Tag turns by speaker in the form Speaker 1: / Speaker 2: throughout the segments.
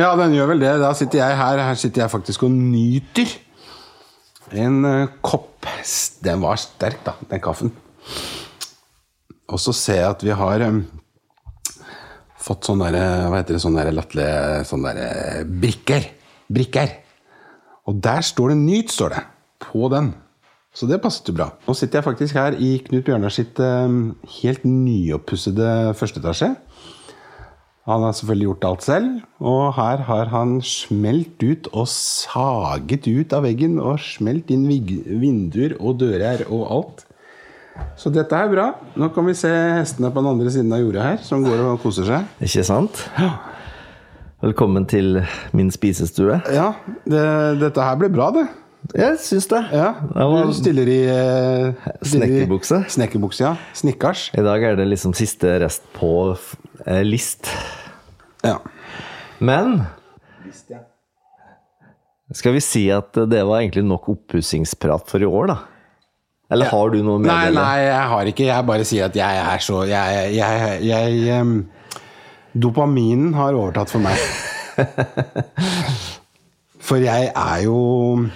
Speaker 1: Ja, den gjør vel det. Da sitter jeg her. Her sitter jeg faktisk og nyter en eh, kopp S- Den var sterk, da, den kaffen. Og så ser jeg at vi har em, fått sånne derre Hva heter det? Sånne derre latterlige Sånne derre brikker. Brikker. Og der står det 'Nyt', står det. På den. Så det passet jo bra. Nå sitter jeg faktisk her i Knut Bjørnar sitt em, helt nyoppussede første etasje. Han har selvfølgelig gjort alt selv, og her har han smelt ut og saget ut av veggen og smelt inn vig- vinduer og dører og alt. Så dette er bra. Nå kan vi se hestene på den andre siden av jordet her, som går og koser seg.
Speaker 2: Ikke sant? Velkommen til min spisestue.
Speaker 1: Ja, det, dette her ble bra, det.
Speaker 2: Jeg syns det.
Speaker 1: Ja,
Speaker 2: det var,
Speaker 1: Du stiller i eh, stiller i-
Speaker 2: Snekkerbukse.
Speaker 1: Snekkerbukse, ja. Snikkers.
Speaker 2: I dag er det liksom siste rest på f- eh, list.
Speaker 1: Ja.
Speaker 2: Men skal vi si at det var egentlig nok oppussingsprat for i år, da? Eller har du noe å
Speaker 1: Nei,
Speaker 2: meddele?
Speaker 1: nei, jeg har ikke. Jeg bare sier at jeg er så Jeg, jeg, jeg, em, Dopaminen har overtatt for meg. For jeg er jo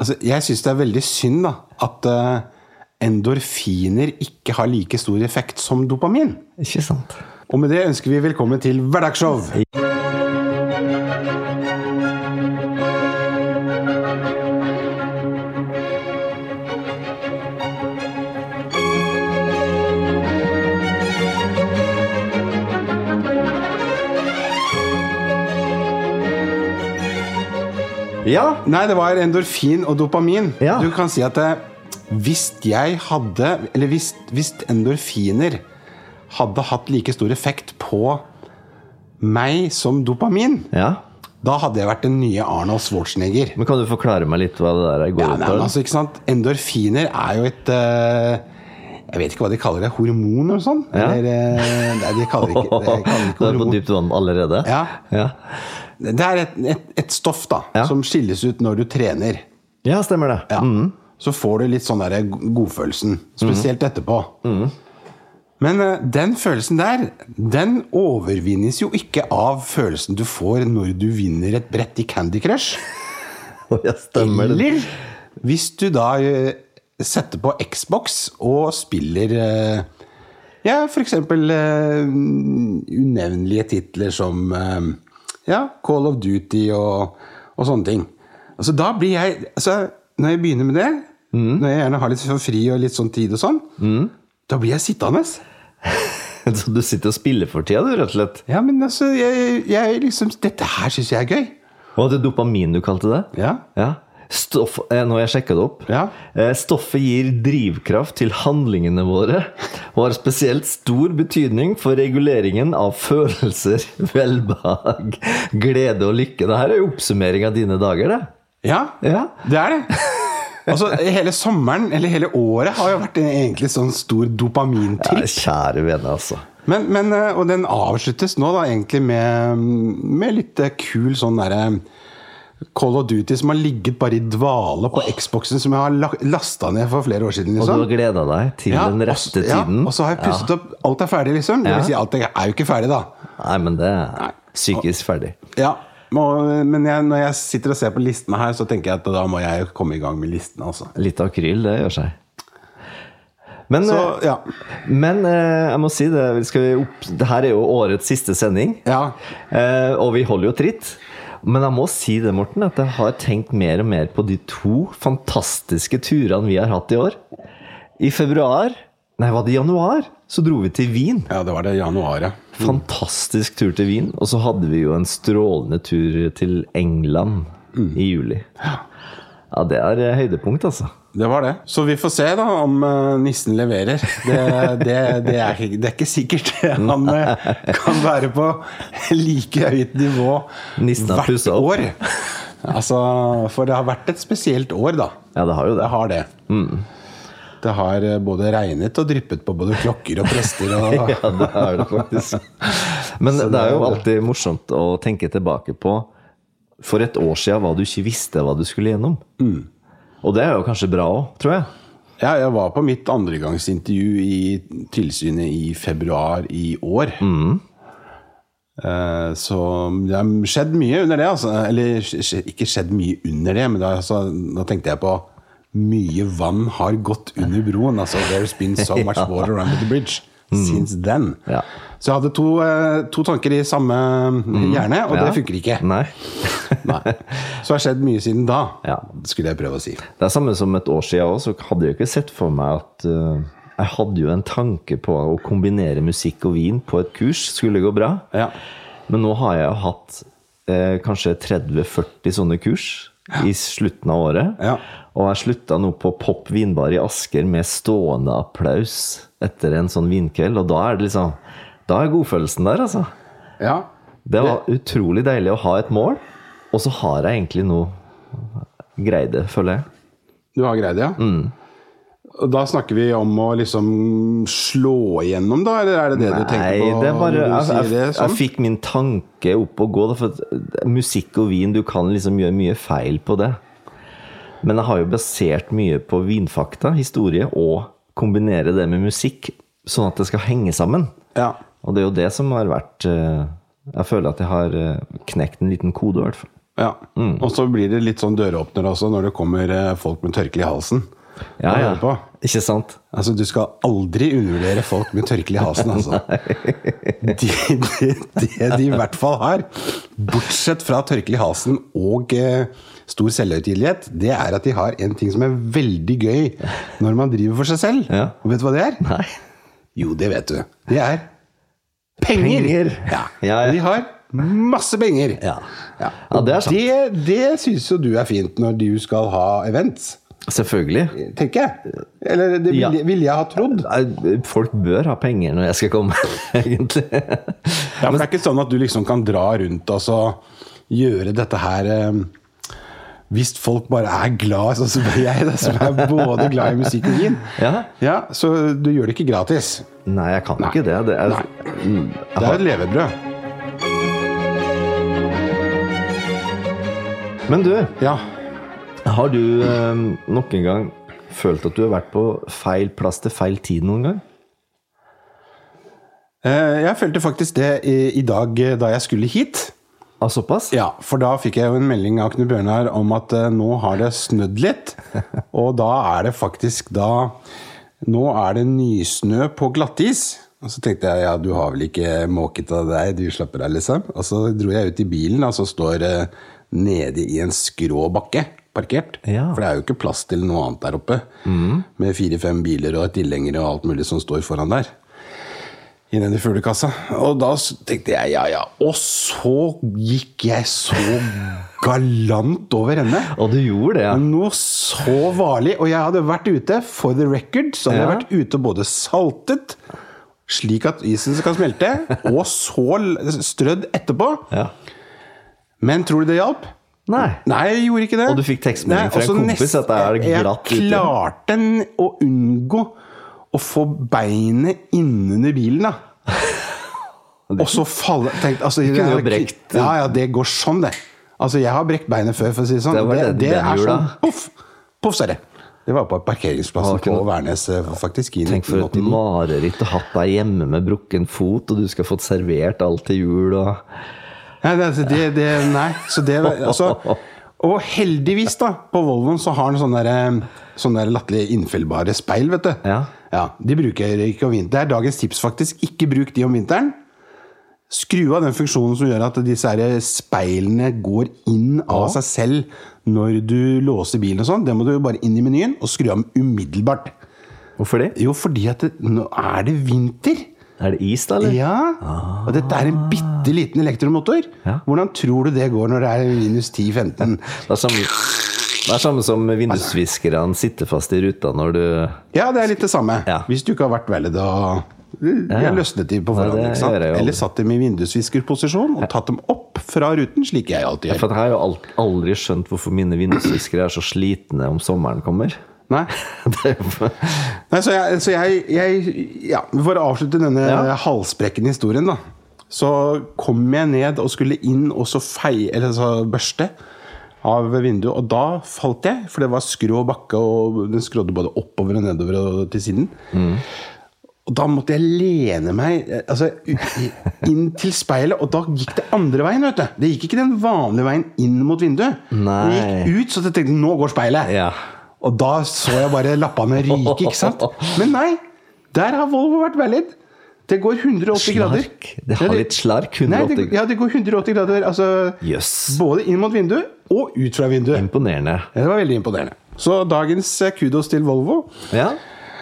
Speaker 1: Altså, jeg syns det er veldig synd da at eh, endorfiner ikke har like stor effekt som dopamin.
Speaker 2: Ikke sant?
Speaker 1: Og med det ønsker vi velkommen til hverdagsshow.
Speaker 2: Ja,
Speaker 1: Nei, det var endorfin og dopamin.
Speaker 2: Ja.
Speaker 1: Du kan si at eh, hvis jeg hadde Eller hvis, hvis endorfiner hadde hatt like stor effekt på meg som dopamin,
Speaker 2: ja.
Speaker 1: da hadde jeg vært den nye Arnold Schwarzenegger.
Speaker 2: Men kan du forklare meg litt hva det der går
Speaker 1: Ja,
Speaker 2: ut
Speaker 1: nei,
Speaker 2: på?
Speaker 1: men altså, ikke sant? Endorfiner er jo et eh, Jeg vet ikke hva de kaller det. Hormon eller sånn?
Speaker 2: Ja.
Speaker 1: Eller, eh, nei, de kaller det ikke, de kaller det
Speaker 2: Du
Speaker 1: ikke
Speaker 2: er på
Speaker 1: hormon.
Speaker 2: dypt vann allerede?
Speaker 1: Ja.
Speaker 2: Ja,
Speaker 1: Det er et, et, et stoff da,
Speaker 2: Ja.
Speaker 1: som skilles ut når du trener.
Speaker 2: ja stemmer det.
Speaker 1: Ja. Så får du litt sånn der go- godfølelsen. Spesielt etterpå. Men eh, den følelsen der, den overvinnes jo ikke av følelsen du får når du vinner et brett i Candy Crush.
Speaker 2: Å, Ja, stemmer det.
Speaker 1: Eller hvis du da eh, setter på Xbox og spiller eh, Ja, f.eks. unevnelige titler som eh, ja, Call of Duty og, og sånne ting. Altså, da blir jeg altså, Når jeg begynner med det, når jeg gjerne har litt for fri og litt sånn tid og sånn, da blir jeg sittende.
Speaker 2: Så du sitter og spiller for tida, du, rett og slett?
Speaker 1: Ja, men altså, jeg, jeg liksom Dette her syns jeg er gøy.
Speaker 2: Var det dopamin du kalte det?
Speaker 1: Ja.
Speaker 2: Ja. Stoff, eh, nå har jeg sjekka det opp.
Speaker 1: Ja.
Speaker 2: Eh, Stoffet gir drivkraft til handlingene våre og har spesielt stor betydning for reguleringen av følelser, velbehag, glede og lykke. Det her er jo oppsummering av dine dager, det.
Speaker 1: ja.
Speaker 2: Ja.
Speaker 1: Det er det. Altså, Hele sommeren, eller hele året, har jo vært en egentlig sånn stor
Speaker 2: Nei,
Speaker 1: dopamintripp.
Speaker 2: Kjære vene, altså.
Speaker 1: Men, men, eh, og den avsluttes nå da egentlig med, med litt eh, kul sånn derre Call of Duty som har ligget bare i dvale på Xboxen, som jeg har la- lasta ned for flere år siden.
Speaker 2: Og du
Speaker 1: liksom.
Speaker 2: har gleda deg til
Speaker 1: Ja,
Speaker 2: den
Speaker 1: og s-
Speaker 2: rette tiden.
Speaker 1: Ja, og så har jeg pusset opp. Alt er ferdig, liksom. Det
Speaker 2: Ja.
Speaker 1: vil si, alt er jo ikke ferdig, da.
Speaker 2: Nei, men det er psykisk ferdig.
Speaker 1: Ja, og, Men jeg, når jeg sitter og ser på listene her, så tenker jeg at da må jeg jo komme i gang med listene, altså.
Speaker 2: Litt akryl, det gjør seg. Men,
Speaker 1: Så
Speaker 2: eh,
Speaker 1: ja.
Speaker 2: men eh, jeg må si det, vi skal opp, det her er jo årets siste sending.
Speaker 1: ja.
Speaker 2: Eh, og vi holder jo tritt. Men jeg må si det, Morten, at jeg har tenkt mer og mer på de to fantastiske turene vi har hatt i år. I februar Nei, var det i januar? Så dro vi til Wien.
Speaker 1: Ja, det var det i januar, ja.
Speaker 2: Fantastisk tur til Wien. Og så hadde vi jo en strålende tur til England i juli. Ja, det er eh, høydepunkt, altså.
Speaker 1: Det var det. Så vi får se da om eh, nissen leverer. Det, det, det, er, ikke- det er ikke sikkert. Han eh, kan være på like høyt nivå
Speaker 2: Nissen har
Speaker 1: hvert
Speaker 2: pusset opp.
Speaker 1: år. Altså, for det har vært et spesielt år, da.
Speaker 2: Ja, det har jo
Speaker 1: Det
Speaker 2: det.
Speaker 1: har det.
Speaker 2: Mm.
Speaker 1: Det har eh, både regnet og dryppet på både klokker og prester. Og,
Speaker 2: Ja, det er det faktisk. Men det er jo alltid morsomt å tenke tilbake på For et år siden hva du ikke visste hva du skulle gjennom.
Speaker 1: Mm.
Speaker 2: Og det er jo kanskje bra òg, tror jeg.
Speaker 1: Ja, jeg var på mitt
Speaker 2: Mm.
Speaker 1: andregangsintervju i tilsynet i februar i år. Eh, Så det har skjedd mye under det. Altså. Eller skj- skj- ikke skjedd mye under det, men da, altså, da tenkte jeg på Mye vann har gått under broen. Altså, There's been so much water under the bridge since then.
Speaker 2: Mm. Ja.
Speaker 1: Så jeg hadde to, eh, to tanker i samme mm,
Speaker 2: Mm.
Speaker 1: hjerne, og det funker ikke.
Speaker 2: Nei.
Speaker 1: Nei. Så det har skjedd mye siden da,
Speaker 2: Ja.
Speaker 1: skulle jeg prøve å si.
Speaker 2: Det er samme som et år siden òg, så hadde jeg jo ikke sett for meg at eh, Jeg hadde jo en tanke på å kombinere musikk og vin på et kurs. Skulle gå bra.
Speaker 1: Ja.
Speaker 2: Men nå har jeg jo hatt eh, kanskje 30-40 sånne kurs i slutten av året.
Speaker 1: Ja.
Speaker 2: Og jeg slutta nå på Pop vinbar i Asker med stående applaus etter en sånn vinkveld. Og da er det liksom Da er godfølelsen der, altså.
Speaker 1: ja.
Speaker 2: Det var utrolig deilig å ha et mål, og så har jeg egentlig nå greid det, føler jeg.
Speaker 1: Du har greid det, ja?
Speaker 2: Mm.
Speaker 1: Og da snakker vi om å liksom slå igjennom, da? Eller er det det du tenker på?
Speaker 2: det er bare
Speaker 1: når du
Speaker 2: jeg,
Speaker 1: sier
Speaker 2: jeg,
Speaker 1: det sånn?
Speaker 2: jeg fikk min tanke opp og gå. Da, for at eh, musikk og vin, du kan liksom gjøre mye feil på det. Men jeg har jo basert mye på vinfakta, historie, og kombinere det med musikk, sånn at det skal henge sammen.
Speaker 1: Ja.
Speaker 2: Og det er jo det som har vært eh, Jeg føler at jeg har eh, knekt en liten kode, i hvert fall.
Speaker 1: ja.
Speaker 2: Mm.
Speaker 1: Og så blir det litt sånn døråpner også, når det kommer eh, folk med tørkle i halsen.
Speaker 2: Ja,
Speaker 1: Hva er det
Speaker 2: ja.
Speaker 1: på?
Speaker 2: Ikke sant?
Speaker 1: Altså, Du skal aldri undervurdere folk med tørkle i halsen, altså. De, de, det de i hvert fall har, bortsett fra tørkle i halsen og eh, stor selvhøytidelighet, det er at de har en ting som er veldig gøy når man driver for seg selv.
Speaker 2: Ja.
Speaker 1: Og vet du hva det er?
Speaker 2: Nei.
Speaker 1: Jo, det vet du. Det er penger!
Speaker 2: Penger.
Speaker 1: Ja.
Speaker 2: Ja, ja.
Speaker 1: De har masse penger.
Speaker 2: Ja.
Speaker 1: Ja.
Speaker 2: Ja, det er sant.
Speaker 1: Det, det syns jo du er fint når du skal ha events,
Speaker 2: Selvfølgelig.
Speaker 1: tenker jeg. Eller det ville,
Speaker 2: Ja.
Speaker 1: ville jeg ha trodd.
Speaker 2: Nei, Folk bør ha penger når jeg skal komme, egentlig.
Speaker 1: Ja, for det er ikke sånn at du liksom kan dra rundt og så gjøre dette her eh, Hvis folk bare er glad, sånn som jeg, da, som er både glad i musikk og vin,
Speaker 2: Ja.
Speaker 1: så du gjør det ikke gratis.
Speaker 2: Nei, jeg kan ikke det. det er,
Speaker 1: Nei. Det er jo et levebrød.
Speaker 2: Men du,
Speaker 1: Ja.
Speaker 2: har du eh, nok en gang følt at du har vært på feil plass til feil tid noen gang?
Speaker 1: Eh, Jeg følte faktisk det i, i dag eh, da jeg skulle hit.
Speaker 2: Ah, såpass?
Speaker 1: Ja, For da fikk jeg jo en melding av Knut Bjørnar om at eh, nå har det snødd litt. Og da er det faktisk da Nå er det nysnø på glattis. Og så tenkte jeg ja, du har vel ikke måket av deg, du slapper av, liksom. Og så dro jeg ut i bilen, og så står det nede i en skrå bakke parkert.
Speaker 2: Ja.
Speaker 1: For det er jo ikke plass til noe annet der oppe. Med fire-fem biler og tilhengere og alt mulig som står foran der. I denne fuglekassa. Og da s- tenkte jeg ja, ja. Og så gikk jeg så galant over ende.
Speaker 2: Og du gjorde det, ja?
Speaker 1: Noe så varlig. Og jeg hadde vært ute, for the record, så hadde jeg
Speaker 2: Ja.
Speaker 1: vært ute og både saltet, slik at isen skal smelte, og så l- strødd etterpå.
Speaker 2: ja.
Speaker 1: Men tror du det hjalp?
Speaker 2: Nei.
Speaker 1: Nei, jeg gjorde ikke det.
Speaker 2: Og du fikk tekstmelding
Speaker 1: Nei,
Speaker 2: fra en
Speaker 1: også
Speaker 2: kompis
Speaker 1: nest-
Speaker 2: at det er glatt ute.
Speaker 1: Jeg klarte n- å unngå å få beinet innunder bilen, da. Og så falle tenkt, altså, jeg
Speaker 2: kunne jo
Speaker 1: har ikke-
Speaker 2: brekt-
Speaker 1: Ja, ja, det går sånn, det. Altså, jeg har brekt beinet før, for å si det sånn.
Speaker 2: Det var den- den
Speaker 1: er
Speaker 2: jula.
Speaker 1: sånn poff! Poff, sa det. Det var på parkeringsplassen
Speaker 2: Har ikke
Speaker 1: på
Speaker 2: noe-
Speaker 1: Værnes, eh, faktisk. I
Speaker 2: Tenk for et
Speaker 1: 1989.
Speaker 2: mareritt å hatt deg hjemme med brukken fot, og du skal fått servert alt til jul og
Speaker 1: Nei, det, altså, det, det, nei. så det var- altså, Og heldigvis, da, på Volvoen så har den sånne, der, eh, sånne der latterlig innfellbare speil, vet du.
Speaker 2: Ja.
Speaker 1: De bruker jeg ikke om vinteren. Det er dagens tips, faktisk. Ikke bruk de om vinteren. Skru av den funksjonen som gjør at disse her speilene går inn av seg selv når du låser bilen og sånn. Det må du jo bare inn i menyen og skru av dem umiddelbart.
Speaker 2: Hvorfor det?
Speaker 1: Jo, fordi at det, nå er det vinter.
Speaker 2: Er det is, da, eller?
Speaker 1: Ja. Og dette er en bitte liten elektromotor.
Speaker 2: Ja.
Speaker 1: Hvordan tror du det går når det er minus 10-15?
Speaker 2: Det er samme, det er samme som vindusviskerne sitter fast i ruta når du
Speaker 1: Ja, det er litt det samme.
Speaker 2: Ja.
Speaker 1: Hvis du ikke har vært veldig da De
Speaker 2: ja.
Speaker 1: har løsnet de på
Speaker 2: Nei,
Speaker 1: forhånd.
Speaker 2: det
Speaker 1: ikke sant?
Speaker 2: gjør jeg jo aldri.
Speaker 1: Eller satt dem i vindusviskerposisjon og tatt dem opp fra ruten, slik jeg alltid gjør.
Speaker 2: For jeg har jo alt- aldri skjønt hvorfor mine vindusviskere er så slitne om sommeren kommer.
Speaker 1: Nei.
Speaker 2: Det er jo-
Speaker 1: Nei, så jeg, så jeg, jeg ja, For å avslutte denne
Speaker 2: Ja.
Speaker 1: halsbrekkende historien, da. Så kom jeg ned og skulle inn og så fei, eller så børste av vinduet. Og da falt jeg,
Speaker 2: Mm.
Speaker 1: for det var skrå bakke, og den skrådde både oppover og nedover og til siden. Og da måtte jeg lene meg eh, altså, u- inn til speilet, og da gikk det andre veien. vet du. Det gikk ikke den vanlige veien inn mot vinduet. Det
Speaker 2: Nei.
Speaker 1: gikk ut, så jeg tenkte nå går speilet.
Speaker 2: Ja.
Speaker 1: Og da så jeg bare lappene ryke, ikke sant? Men nei, der har Volvo vært valid. Det går 180 grader.
Speaker 2: Slark. Det har litt slark.
Speaker 1: Nei,
Speaker 2: 180
Speaker 1: det,
Speaker 2: grader.
Speaker 1: ja, det går 180 grader. Altså,
Speaker 2: Jøss.
Speaker 1: Både inn mot vinduet og ut fra vinduet.
Speaker 2: Imponerende.
Speaker 1: Det var veldig imponerende. Så dagens eh, kudos til Volvo.
Speaker 2: Ja.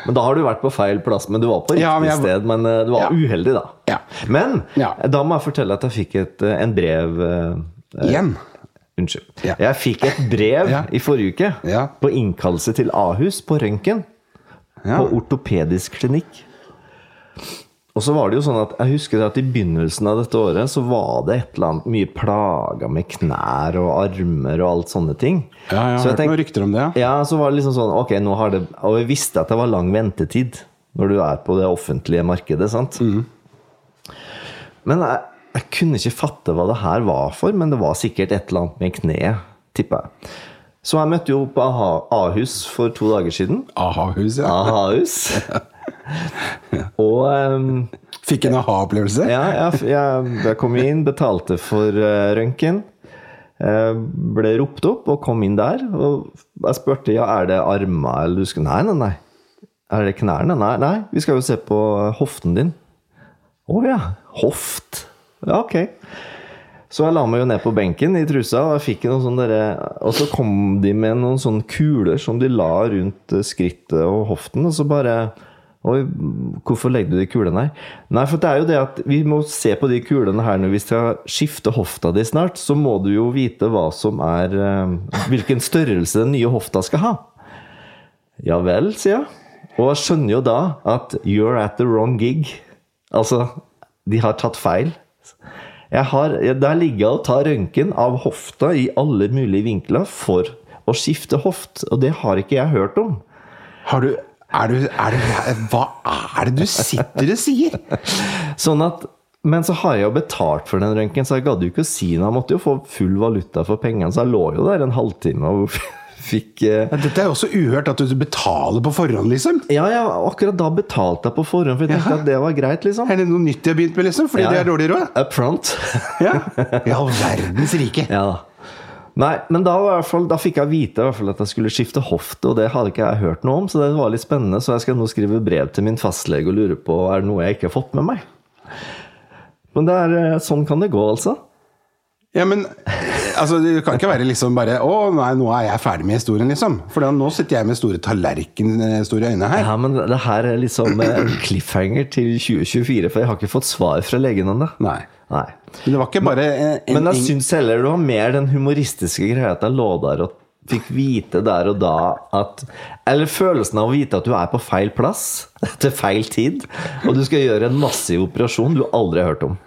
Speaker 2: Men da har du vært på feil plass. Men du var på riktig
Speaker 1: Ja, men jeg-
Speaker 2: sted, men eh, du var
Speaker 1: Ja.
Speaker 2: uheldig, da.
Speaker 1: Ja.
Speaker 2: Men
Speaker 1: Ja.
Speaker 2: eh, da må jeg fortelle at jeg fikk et, eh, en brev eh,
Speaker 1: Igjen.
Speaker 2: Unnskyld.
Speaker 1: Ja.
Speaker 2: Jeg fikk et brev
Speaker 1: Ja.
Speaker 2: i forrige uke
Speaker 1: Ja.
Speaker 2: på innkallelse til Ahus på røntgen.
Speaker 1: Ja.
Speaker 2: På ortopedisk klinikk. Og så var det jo sånn at Jeg husker at i begynnelsen av dette året så var det et eller annet mye plaga med knær og armer og alt sånne ting.
Speaker 1: Ja, jeg
Speaker 2: Så
Speaker 1: har hørt
Speaker 2: tenk-
Speaker 1: noen rykter om det. ja.
Speaker 2: ja, så var det liksom sånn Ok, nå har det Og jeg visste at det var lang ventetid Når du er på det offentlige markedet, sant? Men jeg, jeg kunne ikke fatte hva det her var for Men det var sikkert et eller annet med kneet Tipper jeg Så jeg møtte jo på Aha- Ahus for to dager siden
Speaker 1: Aha-hus, ja.
Speaker 2: Ahus Og ehm,
Speaker 1: Fikk en aha-opplevelse.
Speaker 2: ja, jeg, jeg, jeg kom inn, betalte for eh, røntgen. Eh, ble ropt opp og kom inn der. Og jeg spurte ja, er det armer eller du skal Nei, nei, nei. Er det knærne? Nei, nei, vi skal jo se på hoften din. Å ja. Hoft. Ja, ok. Så jeg la meg jo ned på benken i trusa, og jeg fikk noen sånne derre- Og så kom de med noen sånne kuler som de la rundt eh, skrittet og hoften, og så bare Oi, hvorfor legger du de kulene her? Nei, for det er jo det at vi må se på de kulene her når vi skal skifte hofta di snart, så må du jo vite hva som er eh, Hvilken størrelse den nye hofta skal ha. Ja vel, sier jeg. Og jeg skjønner jo da at you're at the wrong gig. Altså, de har tatt feil. Jeg har, jeg- der ligger jeg og tar røntgen av hofta i alle mulige vinkler for å skifte hoft, og det har ikke jeg hørt om.
Speaker 1: Har du, er du, er du, hva er det du sitter og sier?
Speaker 2: Sånn at, men så har jeg jo betalt for den røntgen, så jeg gadd jo ikke å si noe. Jeg måtte jo få full valuta for pengene, så jeg lå jo der en halvtime og fikk eh,
Speaker 1: Ja, Dette er jo også uhørt at du betaler på forhånd, liksom.
Speaker 2: Ja, ja, akkurat da betalte jeg på forhånd, for jeg tenkte
Speaker 1: Jaha.
Speaker 2: at det var greit, liksom.
Speaker 1: Er det noe nytt de har begynt med, liksom? Fordi
Speaker 2: Ja.
Speaker 1: de har dårlig råd?
Speaker 2: Up front.
Speaker 1: Ja. I all verdens rike.
Speaker 2: Ja da. Nei, men da, var i hvert fall, da fikk jeg vite i hvert fall at jeg skulle skifte hofte, og det hadde ikke jeg hørt noe om, så det var litt spennende. Så jeg skal nå skrive brev til min fastlege og lure på er det noe jeg ikke har fått med meg. Men det er, eh, sånn kan det gå, altså.
Speaker 1: Ja, men altså, det kan ikke være liksom bare Å, nei, nå er jeg ferdig med historien, liksom. For da, nå sitter jeg med store tallerken, eh, store øyne her.
Speaker 2: Ja, men det her er liksom eh, cliffhanger til 2024, for jeg har ikke fått svar fra legen ennå.
Speaker 1: Nei.
Speaker 2: Nei.
Speaker 1: Men det var ikke bare eh, en,
Speaker 2: Men altså, jeg
Speaker 1: en
Speaker 2: syns heller det var mer den humoristiske greia at jeg lå der og fikk vite der og da at Eller følelsen av å vite at du er på feil plass til feil tid, og du skal gjøre en massiv operasjon du aldri har hørt om.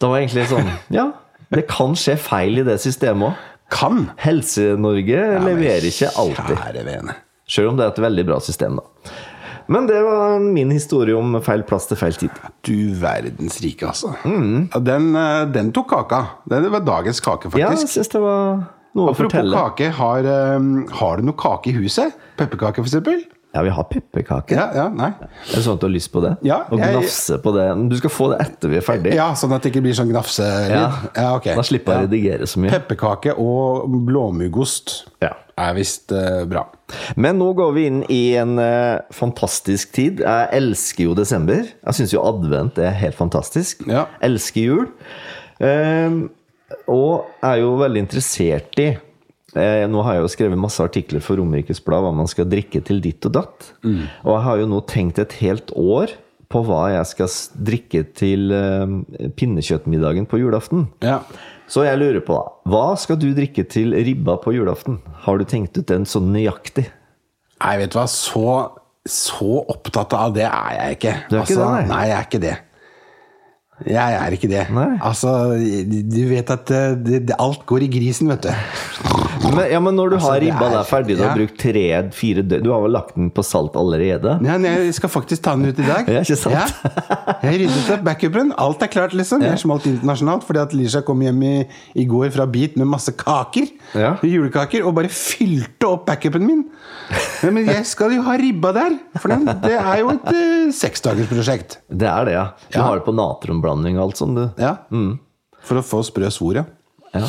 Speaker 2: Det var egentlig sånn Ja, det kan skje feil i det systemet òg.
Speaker 1: kan.
Speaker 2: Helse-Norge leverer ikke alltid.
Speaker 1: Kjære vene.
Speaker 2: Sjøl om det er et veldig bra system, da. Men det var min historie om feil plass til feil tid.
Speaker 1: Du verdens rike, altså. Ja, Den, eh, den tok kaka. Den var dagens kake,
Speaker 2: Mm. Ja,
Speaker 1: faktisk.
Speaker 2: jeg syns det var noe å
Speaker 1: Apropos
Speaker 2: fortelle.
Speaker 1: kake, har, eh, har du noe kake i huset? Pepperkake, for eksempel?
Speaker 2: Ja, vi har pepperkaker.
Speaker 1: Ja, ja, nei.
Speaker 2: Er det sånn at du har lyst på det?
Speaker 1: Ja,
Speaker 2: og
Speaker 1: jeg-
Speaker 2: gnafse på det? Men Du skal få det etter vi er ferdig.
Speaker 1: Ja, sånn at det ikke blir sånn gnafselyd? Ja. ok.
Speaker 2: Da slipper jeg å redigere så mye.
Speaker 1: Pepperkake og blåmuggost
Speaker 2: Ja.
Speaker 1: er visst eh, bra.
Speaker 2: Men nå går vi inn i en eh, fantastisk tid. Jeg elsker jo desember. Jeg syns jo advent er helt fantastisk.
Speaker 1: Ja.
Speaker 2: Elsker jul. Ehm, og er jo veldig interessert i eh, Nå har jeg jo skrevet masse artikler for Romerikes Blad hva man skal drikke til ditt og datt. Og jeg har jo nå tenkt et helt år på hva jeg skal s- drikke til eh, pinnekjøttmiddagen på julaften.
Speaker 1: Ja.
Speaker 2: Så jeg lurer på, da, hva skal du drikke til ribba på julaften? Har du tenkt ut den sånn nøyaktig?
Speaker 1: Nei, vet du hva, så, så opptatt av det er jeg ikke. Altså,
Speaker 2: Du er ikke det, nei?
Speaker 1: nei, jeg er ikke det. Jeg er ikke det.
Speaker 2: Nei.
Speaker 1: Altså, du vet at eh, det, det, alt går i grisen, vet du.
Speaker 2: Men, ja, men når du har
Speaker 1: Altså, det
Speaker 2: ribba
Speaker 1: er-
Speaker 2: der ferdig, du har
Speaker 1: ja.
Speaker 2: brukt tre-fire døgn Du har vel lagt den på salt allerede?
Speaker 1: Ja, men jeg skal faktisk ta den ut i dag.
Speaker 2: Ja, ikke sant?
Speaker 1: Ja. Jeg ryddet opp backupen. Alt er klart, liksom. Jeg smalt internasjonalt fordi at Lisha kom hjem i, i går fra Beat med masse kaker.
Speaker 2: Ja.
Speaker 1: Julekaker. Og bare fylte opp backupen min. Nei, men jeg skal jo ha ribba der! For den, det er jo et eh, seksdagersprosjekt.
Speaker 2: Det er det, ja. Du
Speaker 1: Ja.
Speaker 2: har det på natronblanding og alt sånt, du.
Speaker 1: Ja.
Speaker 2: Mm.
Speaker 1: For å få sprø svor, ja.
Speaker 2: Ja.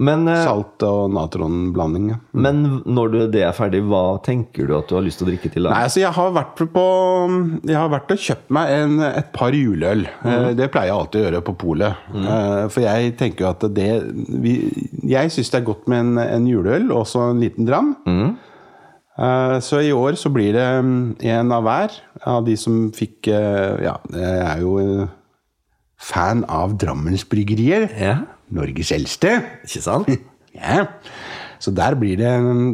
Speaker 2: Men, eh,
Speaker 1: Salt og natronblanding. Ja.
Speaker 2: men når du, det er ferdig, hva tenker du at du har lyst til å drikke til?
Speaker 1: Nei,
Speaker 2: da?
Speaker 1: altså jeg har vært på Jeg har vært og kjøpt meg en, et par juleøl. Eh, Det pleier jeg alltid å gjøre på polet. Eh, For jeg tenker jo at det vi, Jeg syns det er godt med en, en juleøl, også en liten dram. Eh, Så i år så blir det mm, en av hver av de som fikk eh, Ja, jeg er jo eh, fan av Drammens Bryggerier.
Speaker 2: Ja,
Speaker 1: Norges eldste.
Speaker 2: ikke sant?
Speaker 1: Ja. Så der blir, det,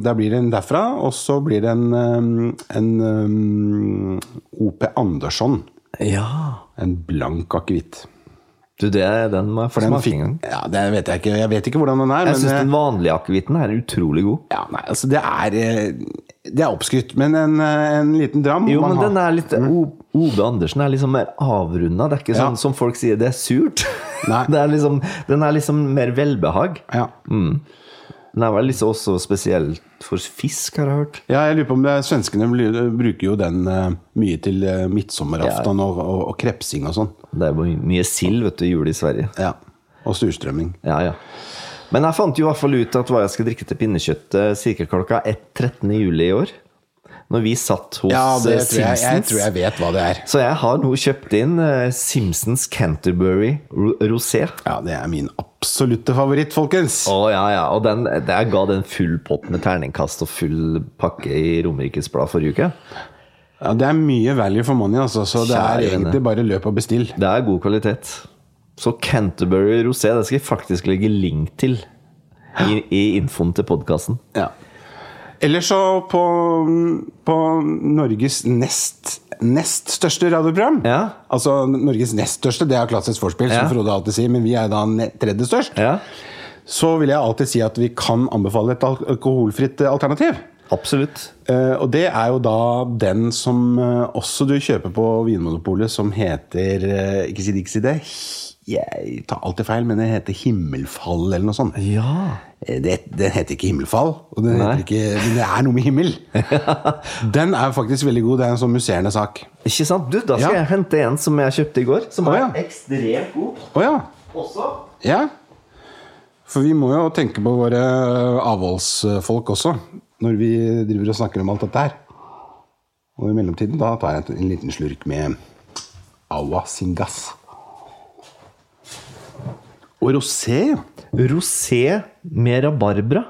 Speaker 1: der blir det en derfra, og så blir det en, um, en um, OP Andersson.
Speaker 2: Ja.
Speaker 1: En blank akevitt.
Speaker 2: Du, det er den må jeg få
Speaker 1: Den
Speaker 2: smake
Speaker 1: fikk-
Speaker 2: en gang.
Speaker 1: Ja, det vet jeg ikke. Jeg vet ikke hvordan den er.
Speaker 2: Jeg syns
Speaker 1: men, eh,
Speaker 2: den vanlige akevitten er utrolig god.
Speaker 1: ja, nei, altså det er eh, Det er oppskrytt, men en, eh, en liten dram
Speaker 2: Jo,
Speaker 1: må man
Speaker 2: men
Speaker 1: ha.
Speaker 2: den er litt O- Ove Andersen er liksom mer avrunda. Det er ikke
Speaker 1: Ja.
Speaker 2: sånn som folk sier, det er surt.
Speaker 1: Nei.
Speaker 2: Det er liksom, den er liksom mer velbehag.
Speaker 1: Ja.
Speaker 2: Den er vel liksom også spesielt for fisk, har jeg hørt.
Speaker 1: ja, jeg lurer på om det, svenskene bl- bruker jo den eh, mye til eh, midtsommeraften og, og, og krepsing og sånn.
Speaker 2: Det er jo mye sild, vet du, i jul i Sverige.
Speaker 1: Ja. Og surstrømming.
Speaker 2: Ja, ja. Men jeg fant jo i hvert fall ut at hva jeg skal drikke til pinnekjøttet cirka klokka 1.13 i juli i år. Når vi satt hos
Speaker 1: Ja, det
Speaker 2: eh,
Speaker 1: tror jeg, jeg
Speaker 2: Simpsons.
Speaker 1: tror jeg vet hva det er.
Speaker 2: Så jeg har nå kjøpt inn eh, Simpsons Canterbury Ro- Rosé.
Speaker 1: Ja, det er min absolutte favoritt, folkens.
Speaker 2: Å ja, ja. Og den, jeg ga den full pott med terningkast og full pakke i Romerikes Blad forrige uke.
Speaker 1: Ja, det er mye value for money, altså, så det er
Speaker 2: Kjære vene.
Speaker 1: egentlig bare løp og bestill.
Speaker 2: Det er god kvalitet. Så Canterbury Rosé, det skal jeg faktisk legge link til i, i infoen til podkasten.
Speaker 1: Ja. Ellers så på, på Norges nest, nest største radioprogram
Speaker 2: Ja.
Speaker 1: Altså Norges nest største, det er Klassisk Vorspiel,
Speaker 2: Ja.
Speaker 1: som Frode alltid sier, men vi er da ne- tredje størst.
Speaker 2: Ja,
Speaker 1: Så vil jeg alltid si at vi kan anbefale et al- alkoholfritt eh, alternativ.
Speaker 2: absolutt.
Speaker 1: Eh, og det er jo da den som eh, også du kjøper på Vinmonopolet, som heter eh, Ikke si det, ikke si det. Jeg tar alltid feil, men det heter Himmelfall eller noe sånt.
Speaker 2: Ja.
Speaker 1: Eh, Det, den heter ikke Himmelfall, og den
Speaker 2: Nei.
Speaker 1: heter ikke, men det er noe med himmel. Den er faktisk veldig god. Det er en sånn musserende sak.
Speaker 2: Ikke sant? Du, da skal
Speaker 1: Ja.
Speaker 2: jeg hente en som jeg kjøpte i går,
Speaker 1: Å,
Speaker 2: som er
Speaker 1: ja.
Speaker 2: ekstremt god
Speaker 1: Å ja.
Speaker 2: også.
Speaker 1: ja. For vi må jo tenke på våre eh, avholdsfolk også, når vi driver og snakker om alt dette her. Og i mellomtiden da tar jeg en liten slurk med Awa sin gass. Og rosé, ja.
Speaker 2: Rosé med rabarbra.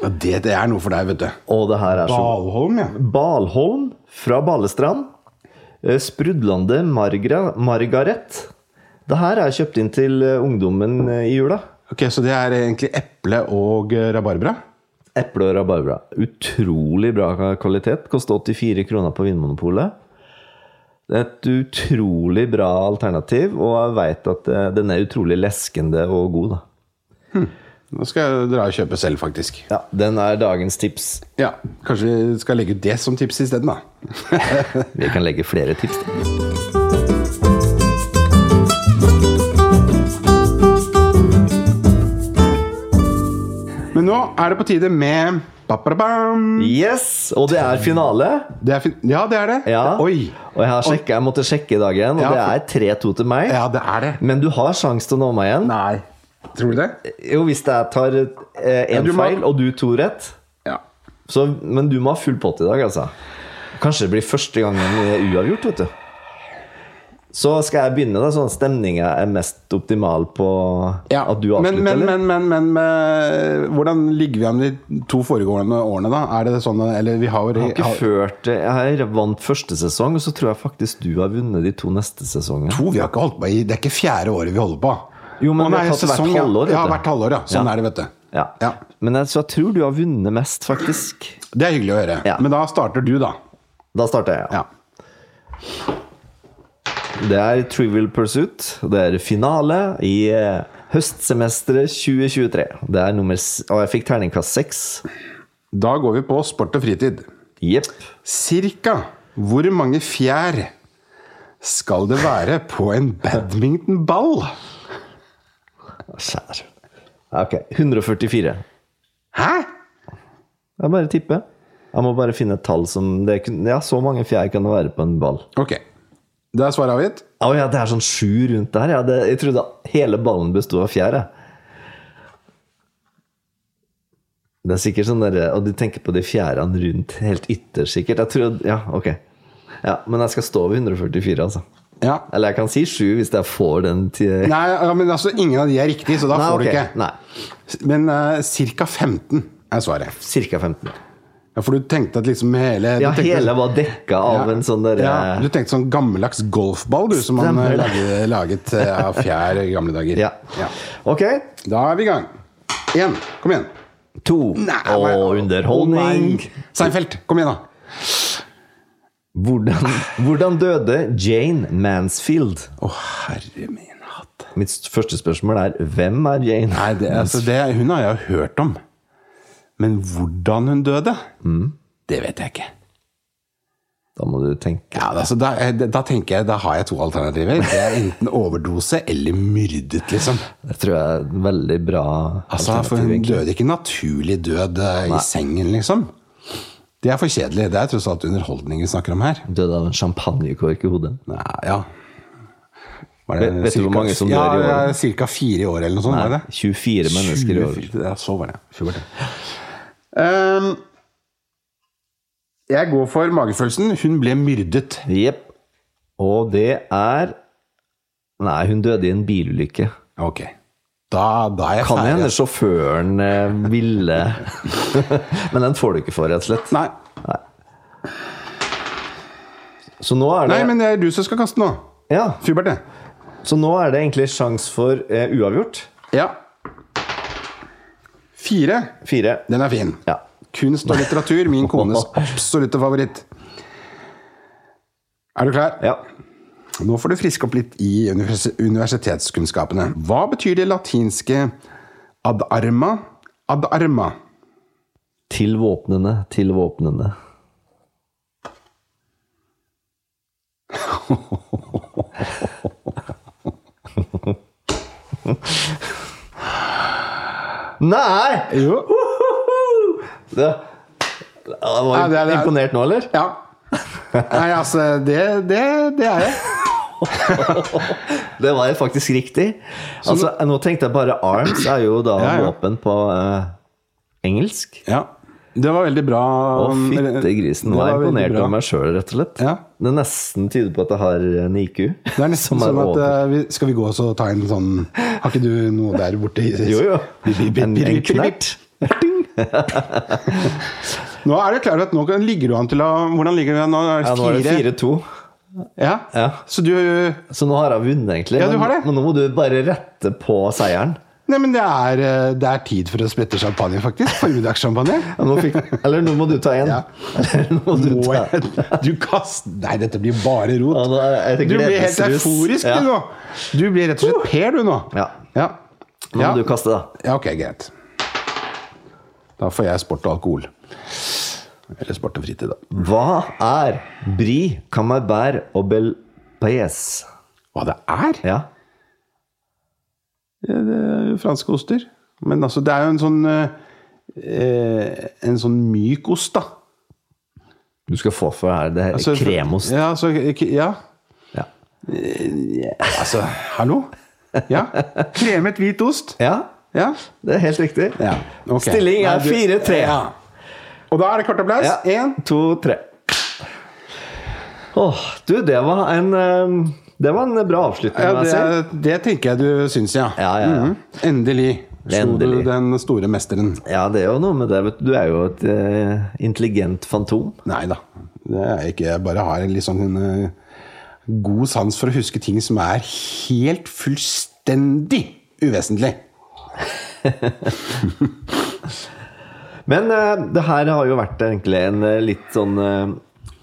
Speaker 1: Ja, Det, det er noe for deg, vet du.
Speaker 2: Og det her er så
Speaker 1: Dalholm, ja.
Speaker 2: Balholm fra Balestrand. Eh, Sprudlande Margra, Margaret. Det her er kjøpt inn til eh, ungdommen eh, i jula.
Speaker 1: Ok, Så det er egentlig eple og eh, rabarbra?
Speaker 2: Eple og rabarbra. Utrolig bra kvalitet. Koster 84 kroner på Vinmonopolet. Det er et utrolig bra alternativ, og jeg veit at eh, den er utrolig leskende og god, da.
Speaker 1: Nå skal jeg dra og kjøpe selv, faktisk.
Speaker 2: Ja, den er dagens tips.
Speaker 1: Ja, Kanskje vi skal legge ut det som tips isteden, da.
Speaker 2: Vi kan legge flere tips til.
Speaker 1: Men nå er det på tide med Ba-ba-da-bam!
Speaker 2: Yes! Og det er finale.
Speaker 1: Det er fin ja, det er det.
Speaker 2: Ja.
Speaker 1: Oi!
Speaker 2: Og jeg, har sjekket, jeg måtte sjekke i dag igjen, og
Speaker 1: Ja,
Speaker 2: det er 3-2 til meg.
Speaker 1: Ja, det er det.
Speaker 2: Men du har sjanse til å nå meg igjen.
Speaker 1: Nei. Tror du det?
Speaker 2: Jo, hvis jeg tar én
Speaker 1: du må-
Speaker 2: feil, og du to rett.
Speaker 1: Ja.
Speaker 2: Så, men du må ha full pott i dag, altså. Kanskje det blir første gangen vi er uavgjort, vet du. Så skal jeg begynne, da, sånn at stemninga er mest optimal på
Speaker 1: ja.
Speaker 2: at du avslutter,
Speaker 1: men, men,
Speaker 2: eller?
Speaker 1: men, men, men, eh, hvordan ligger vi an de to foregående årene, da? Er det sånn Eller vi har jo
Speaker 2: Jeg har ikke ført det. Jeg har vant første sesong, og så tror jeg faktisk du har vunnet de to neste sesongene.
Speaker 1: to, vi har ikke holdt på i Det er ikke fjerde året vi holder på.
Speaker 2: Jo, men
Speaker 1: Å,
Speaker 2: vi
Speaker 1: nei,
Speaker 2: har tatt hvert
Speaker 1: sesong, ja.
Speaker 2: halvår, vet
Speaker 1: Ja,
Speaker 2: du.
Speaker 1: hvert halvår, ja. Sånn er det, vet du.
Speaker 2: Ja.
Speaker 1: Ja.
Speaker 2: Men jeg, så jeg tror du har vunnet mest, faktisk.
Speaker 1: Det er hyggelig å høre.
Speaker 2: Ja.
Speaker 1: Men da starter du, da.
Speaker 2: Da starter jeg.
Speaker 1: Ja.
Speaker 2: Det er Trivial Pursuit. Det er finale i eh, høstsemesteret 2023. Det er nummer s- Og jeg fikk terningkast seks.
Speaker 1: Da går vi på sport og fritid.
Speaker 2: Jepp.
Speaker 1: Cirka hvor mange fjær skal det være på en badmintonball?
Speaker 2: Skjær. Ok. 144.
Speaker 1: Hæ?
Speaker 2: Jeg bare tipper. Jeg må bare finne et tall som det er, kun- Ja, så mange fjær kan det være på en ball.
Speaker 1: Ok. Da er svaret avgitt.
Speaker 2: Å ja, det er sånn sju rundt der. Ja. Det, jeg trodde hele ballen besto av fjær. jeg. Det er sikkert sånn derre Og du tenker på de fjærene rundt helt ytterst, sikkert. Jeg tror, ja, ok. Ja, men jeg skal stå ved 144, altså.
Speaker 1: Ja.
Speaker 2: Eller jeg kan si sju hvis jeg får den til
Speaker 1: Nei, ja, men altså, ingen av de er riktig, så da
Speaker 2: Nei,
Speaker 1: får du
Speaker 2: ok.
Speaker 1: ikke. Men uh, ca. 15 er svaret.
Speaker 2: Nei, ca. 15.
Speaker 1: Ja, For du tenkte at liksom hele
Speaker 2: Ja,
Speaker 1: du tenkte,
Speaker 2: hele var dekka av en sånn derre
Speaker 1: ja, Du tenkte sånn gammeldags golfball, du, som man eh,
Speaker 2: Stemmer
Speaker 1: lagde, laget eh, av fjær i gamle dager.
Speaker 2: ja.
Speaker 1: Ja.
Speaker 2: Ok.
Speaker 1: Da er vi i gang. Én. Kom igjen.
Speaker 2: To.
Speaker 1: men-
Speaker 2: og underholdning.
Speaker 1: Å, nei. Seinfeld, kom igjen, da.
Speaker 2: Hvordan, hvordan døde Jane Mansfield?
Speaker 1: Å, herre min hatt.
Speaker 2: Mitt s- første spørsmål er hvem er Jane?
Speaker 1: Nei, det, altså, det, hun har jeg jo hørt om. Men hvordan hun døde,
Speaker 2: Mm.
Speaker 1: det vet jeg ikke.
Speaker 2: Da må du tenke.
Speaker 1: Ja, altså, da, da tenker jeg, da har jeg to alternativer. Det er enten overdose eller myrdet, liksom.
Speaker 2: Det tror jeg er et veldig bra
Speaker 1: Altså, for
Speaker 2: alternativ,
Speaker 1: hun
Speaker 2: egentlig.
Speaker 1: døde ikke naturlig død eh, i sengen, liksom. Det er for kjedelig. Det er tross alt underholdning vi snakker om her.
Speaker 2: Døde av en champagnekork i hodet.
Speaker 1: Ja, ja. Var det
Speaker 2: Vet- vet du hvor
Speaker 1: cirka-
Speaker 2: mange som dør i
Speaker 1: ja,
Speaker 2: året?
Speaker 1: Ja, cirka fire i året eller noe sånt. var det?
Speaker 2: 24 mennesker i år.
Speaker 1: 24, ja, så var det. Fy var det. Ehm, jeg går for magefølelsen. Hun ble myrdet.
Speaker 2: Jepp. Og det er Nei, hun døde i en bilulykke.
Speaker 1: Ok. Da, da er jeg
Speaker 2: Kan
Speaker 1: ferdig. altså.
Speaker 2: hende sjåføren eh, ville Men den får du ikke for, rett og slett.
Speaker 1: Nei.
Speaker 2: Så nå er det,
Speaker 1: Nei, men det er du som skal kaste nå.
Speaker 2: ja,
Speaker 1: Fyberte.
Speaker 2: så nå er det egentlig sjanse for eh, uavgjort.
Speaker 1: Ja. Fire.
Speaker 2: Fire.
Speaker 1: Den er fin.
Speaker 2: Ja.
Speaker 1: Kunst og litteratur, min kones absolutte favoritt. Er du klar?
Speaker 2: ja.
Speaker 1: Nå får du friske opp litt i univers- universitetskunnskapene. Hva betyr det latinske ad arma? Ad arma.
Speaker 2: Til våpnene, til våpnene. Nei!
Speaker 1: Jo.
Speaker 2: Det, det var
Speaker 1: Ja, det er- det er-
Speaker 2: imponert nå, eller?
Speaker 1: Ja. Nei, altså, det, det, det er jeg.
Speaker 2: Det var faktisk riktig. Altså, nå tenkte jeg bare arms er jo da
Speaker 1: Ja, ja.
Speaker 2: våpen på eh, engelsk.
Speaker 1: Ja. Det var veldig bra.
Speaker 2: Å, fytte grisen.
Speaker 1: Det
Speaker 2: Nå er
Speaker 1: var
Speaker 2: jeg
Speaker 1: veldig
Speaker 2: imponert
Speaker 1: bra.
Speaker 2: over meg sjøl, rett og slett.
Speaker 1: Ja.
Speaker 2: Det er nesten tyder på at jeg har eh, en IQ.
Speaker 1: Det er nesten
Speaker 2: som er
Speaker 1: sånn at
Speaker 2: over.
Speaker 1: eh, vi, Skal vi gå og så ta en sånn Har ikke du noe der borte? i-
Speaker 2: Jo, jo.
Speaker 1: Bip, bip, bip,
Speaker 2: En,
Speaker 1: bip,
Speaker 2: en
Speaker 1: bip, bip.
Speaker 2: knert.
Speaker 1: Nå er det klart at nå kan- ligger du an til å Hvordan ligger du an nå? Er det
Speaker 2: Ja, nå er det 4-2.
Speaker 1: Ja.
Speaker 2: Ja.
Speaker 1: Så du Nei,
Speaker 2: Så nå har jeg vunnet, egentlig.
Speaker 1: Ja, du har
Speaker 2: Men-
Speaker 1: det.
Speaker 2: Men nå må du bare rette på seieren.
Speaker 1: men det er, eh, det er tid for å sprette champagne, faktisk. Formiddagssjampanje.
Speaker 2: Ja, nå fikk, eller nå må du ta en.
Speaker 1: Ja.
Speaker 2: Eller nå må du
Speaker 1: Må
Speaker 2: ta
Speaker 1: jeg Du kast... Nei, dette blir bare rot.
Speaker 2: Ja, nå er jeg
Speaker 1: Du blir helt
Speaker 2: gledesrus.
Speaker 1: euforisk
Speaker 2: ja.
Speaker 1: du nå. Du blir rett og slett Per, du nå.
Speaker 2: Ja.
Speaker 1: Ja.
Speaker 2: Nå må
Speaker 1: Ja.
Speaker 2: du kaste, da.
Speaker 1: ja, ok, greit. Da får jeg sport og alkohol. Eller sport og fritid, da.
Speaker 2: Hva er brie, camembert og bel paise?
Speaker 1: Hva det er?
Speaker 2: Ja.
Speaker 1: Det er franske oster. Men altså, det er jo en sånn eh, En sånn myk ost, da.
Speaker 2: Du skal få for det her. Det her
Speaker 1: Altså,
Speaker 2: kremost.
Speaker 1: Ja, altså, k- ja.
Speaker 2: Ja.
Speaker 1: altså Hallo? Ja. Kremet hvit ost.
Speaker 2: ja,
Speaker 1: Ja.
Speaker 2: det er helt riktig.
Speaker 1: Ja, ok.
Speaker 2: Stilling er
Speaker 1: Nei, du-
Speaker 2: 4-3.
Speaker 1: Ja. Og da er det kort applaus.
Speaker 2: Ja.
Speaker 1: Én,
Speaker 2: to, tre. Åh, du, det var en eh, Det var en bra avslutning.
Speaker 1: Ja,
Speaker 2: må jeg si.
Speaker 1: det, det tenker jeg du syns, ja.
Speaker 2: Ja, ja, ja.
Speaker 1: Mhm. Endelig slo du
Speaker 2: Endelig.
Speaker 1: den store mesteren.
Speaker 2: ja, det er jo noe med det. Vet du. du er jo et eh, intelligent fantom.
Speaker 1: Nei da. Det er ikke, jeg bare har en litt sånn en eh, god sans for å huske ting som er helt fullstendig uvesentlig.
Speaker 2: Men eh, det her har jo vært egentlig en eh, litt sånn eh,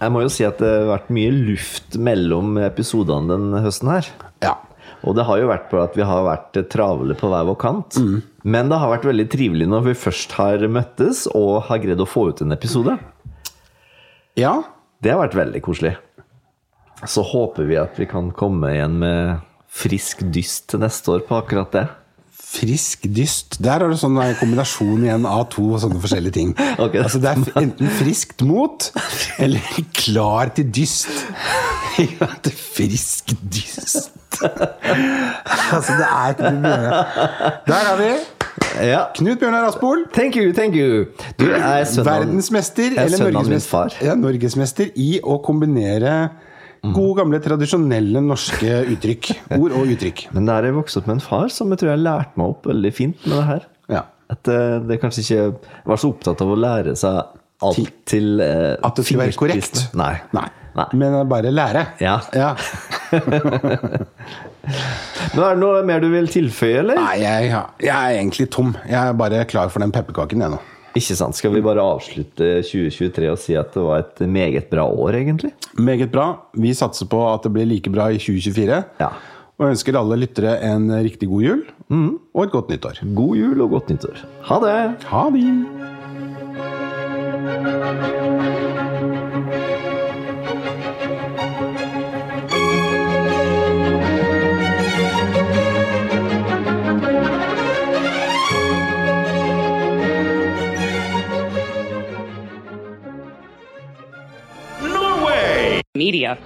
Speaker 2: Jeg må jo si at det har vært mye luft mellom episodene den høsten her.
Speaker 1: Ja.
Speaker 2: Og det har jo vært på at vi har vært eh, travle på hver vår kant.
Speaker 1: Mm.
Speaker 2: Men det har vært veldig trivelig når vi først har møttes og har greid å få ut en episode.
Speaker 1: Ja.
Speaker 2: Det har vært veldig koselig. Så håper vi at vi kan komme igjen med frisk dyst til neste år på akkurat det.
Speaker 1: frisk dyst. Der er det sånn en kombinasjon igjen av to sånne forskjellige ting.
Speaker 2: Ok.
Speaker 1: Altså Det er f- enten friskt mot eller klar til dyst. Ikke sant? frisk dyst. altså, det er ikke noe å gjøre. Der har vi
Speaker 2: Ja.
Speaker 1: Knut Bjørnar Aspol.
Speaker 2: Thank you, thank you. Du jeg er sønnen
Speaker 1: Verdensmester
Speaker 2: er
Speaker 1: eller
Speaker 2: sønnen av min far.
Speaker 1: norgesmester, ja, norgesmester i å kombinere
Speaker 2: Mhm.
Speaker 1: gode, gamle, tradisjonelle norske uttrykk. Ord og uttrykk.
Speaker 2: Men der er jeg vokst opp med en far som jeg tror jeg lærte meg opp veldig fint med det her.
Speaker 1: Ja.
Speaker 2: At eh, det kanskje ikke jeg var så opptatt av å lære seg alt
Speaker 1: Ti-
Speaker 2: til eh,
Speaker 1: At det skulle være korrekt.
Speaker 2: fingerspissene. Nei.
Speaker 1: Nei.
Speaker 2: Nei.
Speaker 1: Men bare lære.
Speaker 2: Ja. Men er det noe mer du vil tilføye, eller?
Speaker 1: Nei, jeg, jeg er egentlig tom. Jeg er bare klar for den pepperkaken, jeg nå.
Speaker 2: Ikke sant. Skal vi bare avslutte 2023 og si at det var et meget bra år, egentlig?
Speaker 1: Meget bra. Vi satser på at det blir like bra i 2024.
Speaker 2: Ja.
Speaker 1: Og ønsker alle lyttere en riktig god jul og et godt nyttår.
Speaker 2: God jul og godt nyttår. Ha det!
Speaker 1: Ha det!
Speaker 3: media.